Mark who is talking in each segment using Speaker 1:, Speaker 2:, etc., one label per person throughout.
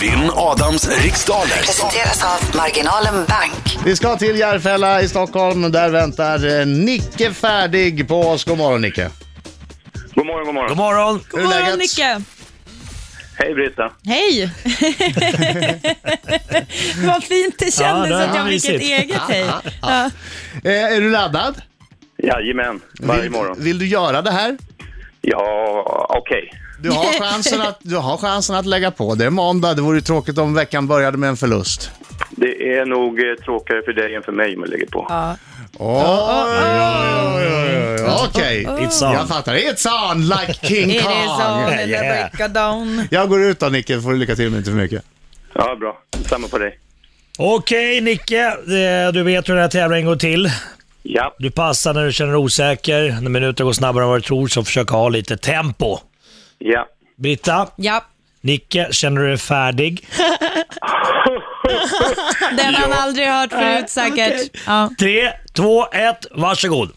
Speaker 1: Vinn Adams riksdaler.
Speaker 2: Presenteras av Marginalen Bank.
Speaker 3: Vi ska till Järfälla i Stockholm. Där väntar eh, Nicke färdig på oss. God morgon Nicke.
Speaker 4: God morgon, god morgon.
Speaker 5: God morgon!
Speaker 3: Hur
Speaker 6: God
Speaker 3: är
Speaker 6: morgon
Speaker 3: läget?
Speaker 6: Nicke!
Speaker 4: Hej Britta.
Speaker 6: Hej! Vad fint det kändes
Speaker 5: Ja, det
Speaker 6: att jag
Speaker 5: var
Speaker 6: fick ett
Speaker 5: mysigt.
Speaker 6: eget hej. Ja.
Speaker 3: Eh, är du laddad?
Speaker 4: Jajamän, varje
Speaker 3: vill,
Speaker 4: morgon.
Speaker 3: Vill du göra det här?
Speaker 4: Ja, okej.
Speaker 3: Du har, chansen att, du har chansen att lägga på. Det är måndag. Det vore ju tråkigt om veckan började med en förlust.
Speaker 4: Det är nog eh, tråkigare för dig än för mig om jag lägger på.
Speaker 3: Oj, oj, oj, oj. Okej.
Speaker 5: It's on.
Speaker 3: Jag fattar. It's on like King
Speaker 6: It is on
Speaker 3: Kong.
Speaker 6: and the
Speaker 5: Yeah.
Speaker 6: break of dawn.
Speaker 3: Jag går ut då Nicke, får du lycka till men inte för mycket.
Speaker 4: Ja, bra. Samma på dig.
Speaker 5: Okej Nicke, eh, du vet hur den här tävlingen går till.
Speaker 4: Ja,
Speaker 5: Du passar när du känner dig osäker. När minuten går snabbare än vad du tror så försök ha lite tempo.
Speaker 4: ja.
Speaker 5: Britta,
Speaker 6: Ja,
Speaker 5: Nicke, känner du dig färdig?
Speaker 6: den har han aldrig hört förut säkert. Ja.
Speaker 5: Tre, två, ett, varsågod.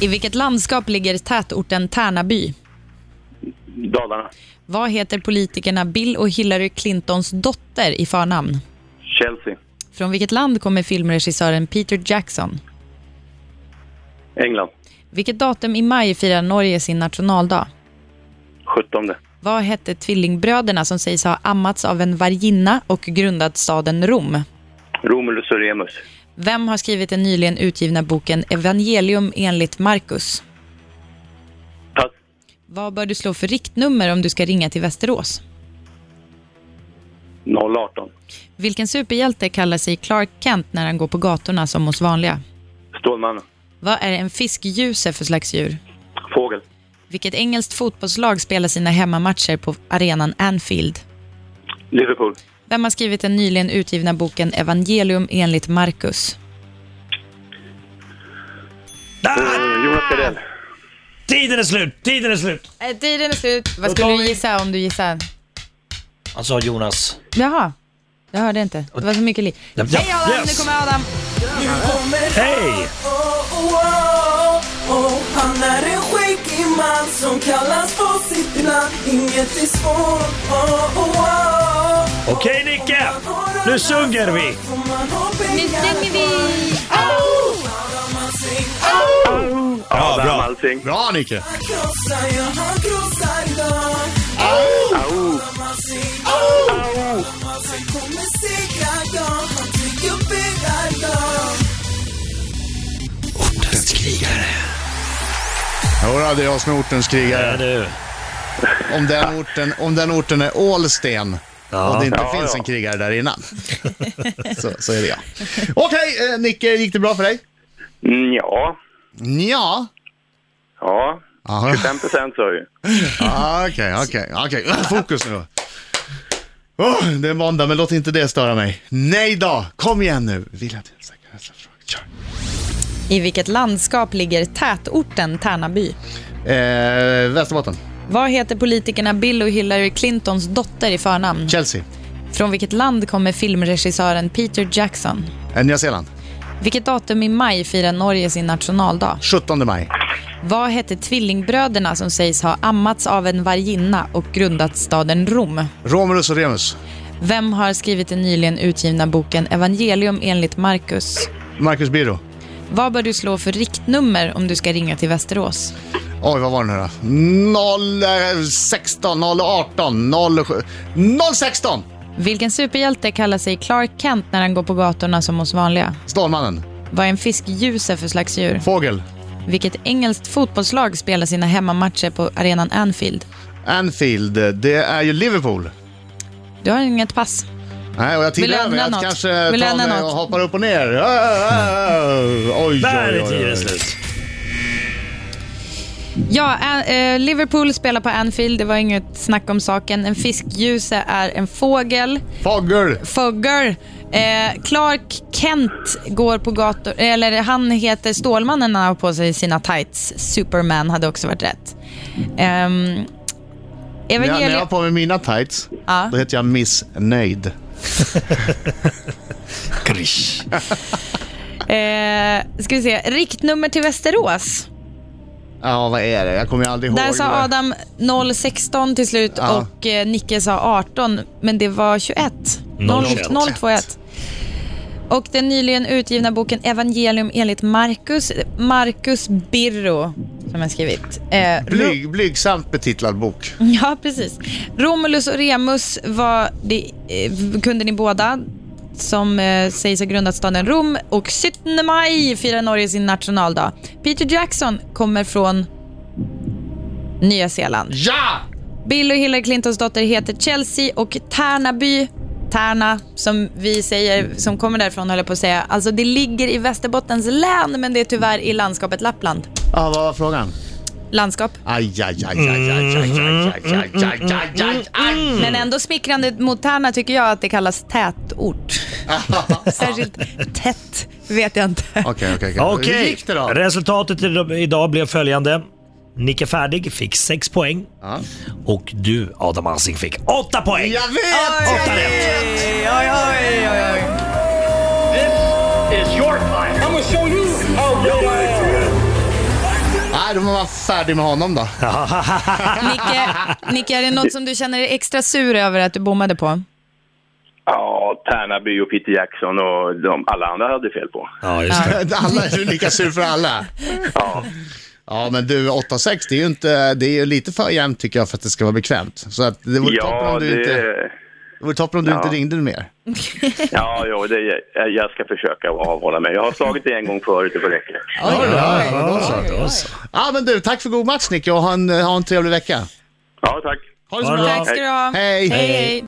Speaker 6: I vilket landskap ligger tätorten Tärnaby?
Speaker 4: Dalarna.
Speaker 6: Vad heter politikerna Bill och Hillary Clintons dotter i förnamn?
Speaker 4: Chelsea.
Speaker 6: Från vilket land kommer filmregissören Peter Jackson?
Speaker 4: England.
Speaker 6: Vilket datum i maj firar Norge sin nationaldag?
Speaker 4: 17.
Speaker 6: Vad hette tvillingbröderna som sägs ha ammats av en varginna och grundat staden Rom?
Speaker 4: Romulus och Remus.
Speaker 6: Vem har skrivit den nyligen utgivna boken Evangelium enligt Markus?
Speaker 4: Pass.
Speaker 6: Vad bör du slå för riktnummer om du ska ringa till Västerås?
Speaker 4: 018.
Speaker 6: Vilken superhjälte kallar sig Clark Kent när han går på gatorna som hos vanliga?
Speaker 4: Stålmannen.
Speaker 6: Vad är en fiskgjuse för slags djur?
Speaker 4: Fågel.
Speaker 6: Vilket engelskt fotbollslag spelar sina hemmamatcher på arenan Anfield?
Speaker 4: Liverpool.
Speaker 6: Vem har skrivit den nyligen utgivna boken Evangelium enligt Markus?
Speaker 5: Ah,
Speaker 4: Eh, Jonas Gardell.
Speaker 5: tiden är slut, tiden är slut.
Speaker 6: Eh, Tiden är slut. Vad skulle du gissa om du gissar?
Speaker 5: Han sa Jonas.
Speaker 6: Jaha. Jag hörde inte. Det var så mycket liv.
Speaker 5: Ja, ja,
Speaker 6: Hej Adam,
Speaker 5: yes.
Speaker 6: nu kommer Adam.
Speaker 5: Hej!
Speaker 7: Han är en skäggig man som kallas på sitt namn Inget är svårt, oh, oh, oh.
Speaker 5: Okej Nicke, nu sjunger vi.
Speaker 7: Nu
Speaker 6: sjunger vi.
Speaker 4: Ja, Adam
Speaker 3: Ah, bra.
Speaker 4: Alsing.
Speaker 3: Bra Nicke!
Speaker 4: Au.
Speaker 1: Ortens krigare.
Speaker 3: Jodå, det är jag som är ortens
Speaker 5: Ja,
Speaker 3: krigare.
Speaker 5: Eh, du.
Speaker 3: Om den orten, om den orten är Ålsten och det inte
Speaker 4: Ja,
Speaker 3: finns
Speaker 4: ja.
Speaker 3: en krigare där innan, så, så är det jag. Okej, eh, Nicke, gick det bra för dig?
Speaker 4: Mm, Ja.
Speaker 3: Ja.
Speaker 4: Ja.
Speaker 3: Aha.
Speaker 4: 5 procent sa jag ju.
Speaker 3: Ah, Okej, okej, okej. Fokus nu då. Oh, det är måndag, men låt inte det störa mig. Nej då, kom igen nu. Vill jag till en säker hälsa, fråga. Kör.
Speaker 6: I vilket landskap ligger tätorten Tärnaby?
Speaker 3: Eh, Västerbotten,
Speaker 6: Vad heter politikerna Bill och Hillary Clintons dotter i förnamn?
Speaker 3: Chelsea,
Speaker 6: Från vilket land kommer filmregissören Peter Jackson?
Speaker 3: eh, Nya Zeeland,
Speaker 6: Vilket datum i maj firar Norge sin nationaldag?
Speaker 3: 17 maj.
Speaker 6: Vad hette tvillingbröderna som sägs ha ammats av en varginna och grundat staden Rom?
Speaker 3: Romulus och Remus,
Speaker 6: Vem har skrivit den nyligen utgivna boken Evangelium enligt Markus?
Speaker 3: Marcus Biro.
Speaker 6: Vad bör du slå för riktnummer om du ska ringa till Västerås?
Speaker 3: Oj, vad var det nu då? 0, eh, 16, 0, 18, 0, 7, 0, 16!
Speaker 6: Vilken superhjälte kallar sig Clark Kent när han går på gatorna som hos vanliga?
Speaker 3: Stålmannen,
Speaker 6: Vad är en fiskljuse för slags djur?
Speaker 3: Fågel,
Speaker 6: Vilket engelskt fotbollslag spelar sina hemmamatcher på arenan Anfield?
Speaker 3: Anfield, eh, det är ju Liverpool.
Speaker 6: Du har inget pass.
Speaker 3: Nej, och jag
Speaker 6: Vill
Speaker 3: tillhör
Speaker 6: ändra
Speaker 3: mig att
Speaker 6: något?
Speaker 3: kanske
Speaker 6: Vill
Speaker 3: tar
Speaker 6: ändra
Speaker 3: mig och
Speaker 6: något?
Speaker 3: hoppar upp och ner. Oj, oj,
Speaker 5: Där
Speaker 3: oj,
Speaker 5: är
Speaker 3: oj,
Speaker 5: tiden
Speaker 3: oj.
Speaker 5: slut.
Speaker 6: Ja, An- eh, Liverpool spelar på Anfield, det var inget snack om saken. En fiskljuse är en fågel.
Speaker 3: Fågel.
Speaker 6: Fogger. Eh, Clark Kent går på gator, eller han heter Stålmannen när han har på sig sina tights. Superman hade också varit rätt. Ehm,
Speaker 3: När jag, när
Speaker 6: Evangelium...
Speaker 3: jag har på mig mina tights,
Speaker 6: Ja.
Speaker 3: då heter jag missnöjd.
Speaker 5: Krish.
Speaker 6: Eh, ska vi se, riktnummer till Västerås.
Speaker 3: Ja, vad är det? Jag kommer ju aldrig ihåg.
Speaker 6: Där sa Adam 016 till slut
Speaker 3: Ja.
Speaker 6: och eh, Nicke sa 18, men det var 21. 0,
Speaker 5: 021.
Speaker 6: 021. Och den nyligen utgivna boken Evangelium enligt Markus, Markus Birro, som jag skrivit. Eh,
Speaker 3: Blyg, blygsamt betitlad bok.
Speaker 6: Ja, precis. Romulus och Remus var det, eh, kunde ni båda som eh, sägs ha grundat staden Rom och 17 maj firar Norge sin nationaldag. Peter Jackson kommer från Nya Zeeland.
Speaker 3: Ja!
Speaker 6: Bill och Hillary Clintons dotter heter Chelsea och Tärnaby, Tärna som vi säger, som kommer därifrån höll jag på att säga. Alltså det ligger i Västerbottens län men det är tyvärr i landskapet Lappland.
Speaker 3: Ja, vad var frågan?
Speaker 6: Landskap.
Speaker 3: Aj, aj, aj, aj, aj, aj, aj, aj, aj, aj, aj, aj, aj.
Speaker 6: Men ändå smickrande mot Tärna tycker jag att det kallas tätort. Särskilt tätt vet jag inte.
Speaker 3: Okej, okej, okej. Hur
Speaker 5: Okej,
Speaker 3: gick det då?
Speaker 5: resultatet i- idag blev följande. Nicke Färdig fick 6 poäng
Speaker 3: Ja.
Speaker 5: och du Adam Alsing fick 8 poäng.
Speaker 3: Jag vet!
Speaker 5: Åtta rätt.
Speaker 3: Nej, då var man färdig med honom då.
Speaker 6: Nicke, Nicke, är det något som du känner dig extra sur över att du bommade på?
Speaker 4: Ja, Tärnaby och Peter Jackson och de, alla andra hade fel på.
Speaker 5: Ja, just
Speaker 3: Uh,
Speaker 5: det.
Speaker 3: Alla är ju lika sur för alla.
Speaker 4: Ja.
Speaker 3: Ja, men du, 8-6, det är ju inte, det är ju lite för jämnt tycker jag för att det ska vara bekvämt. Så att det vore toppen
Speaker 4: Ja,
Speaker 3: om du, inte,
Speaker 4: det...
Speaker 3: det vore toppen om du
Speaker 4: Ja.
Speaker 3: inte ringde mer.
Speaker 4: Ja, jo, det, jag- jag ska försöka avhålla mig. Jag har slagit det en gång förut, det får räcka.
Speaker 3: Ja, ja, ja,
Speaker 5: Ja, då så.
Speaker 3: ja, men du, tack för god match Nicke och ha en, ha en trevlig vecka.
Speaker 4: Ja, tack.
Speaker 3: Ha det så
Speaker 5: Ha det
Speaker 3: bra.
Speaker 5: bra.
Speaker 6: Tack ska du ha.
Speaker 3: Hej.
Speaker 6: Hej, hej.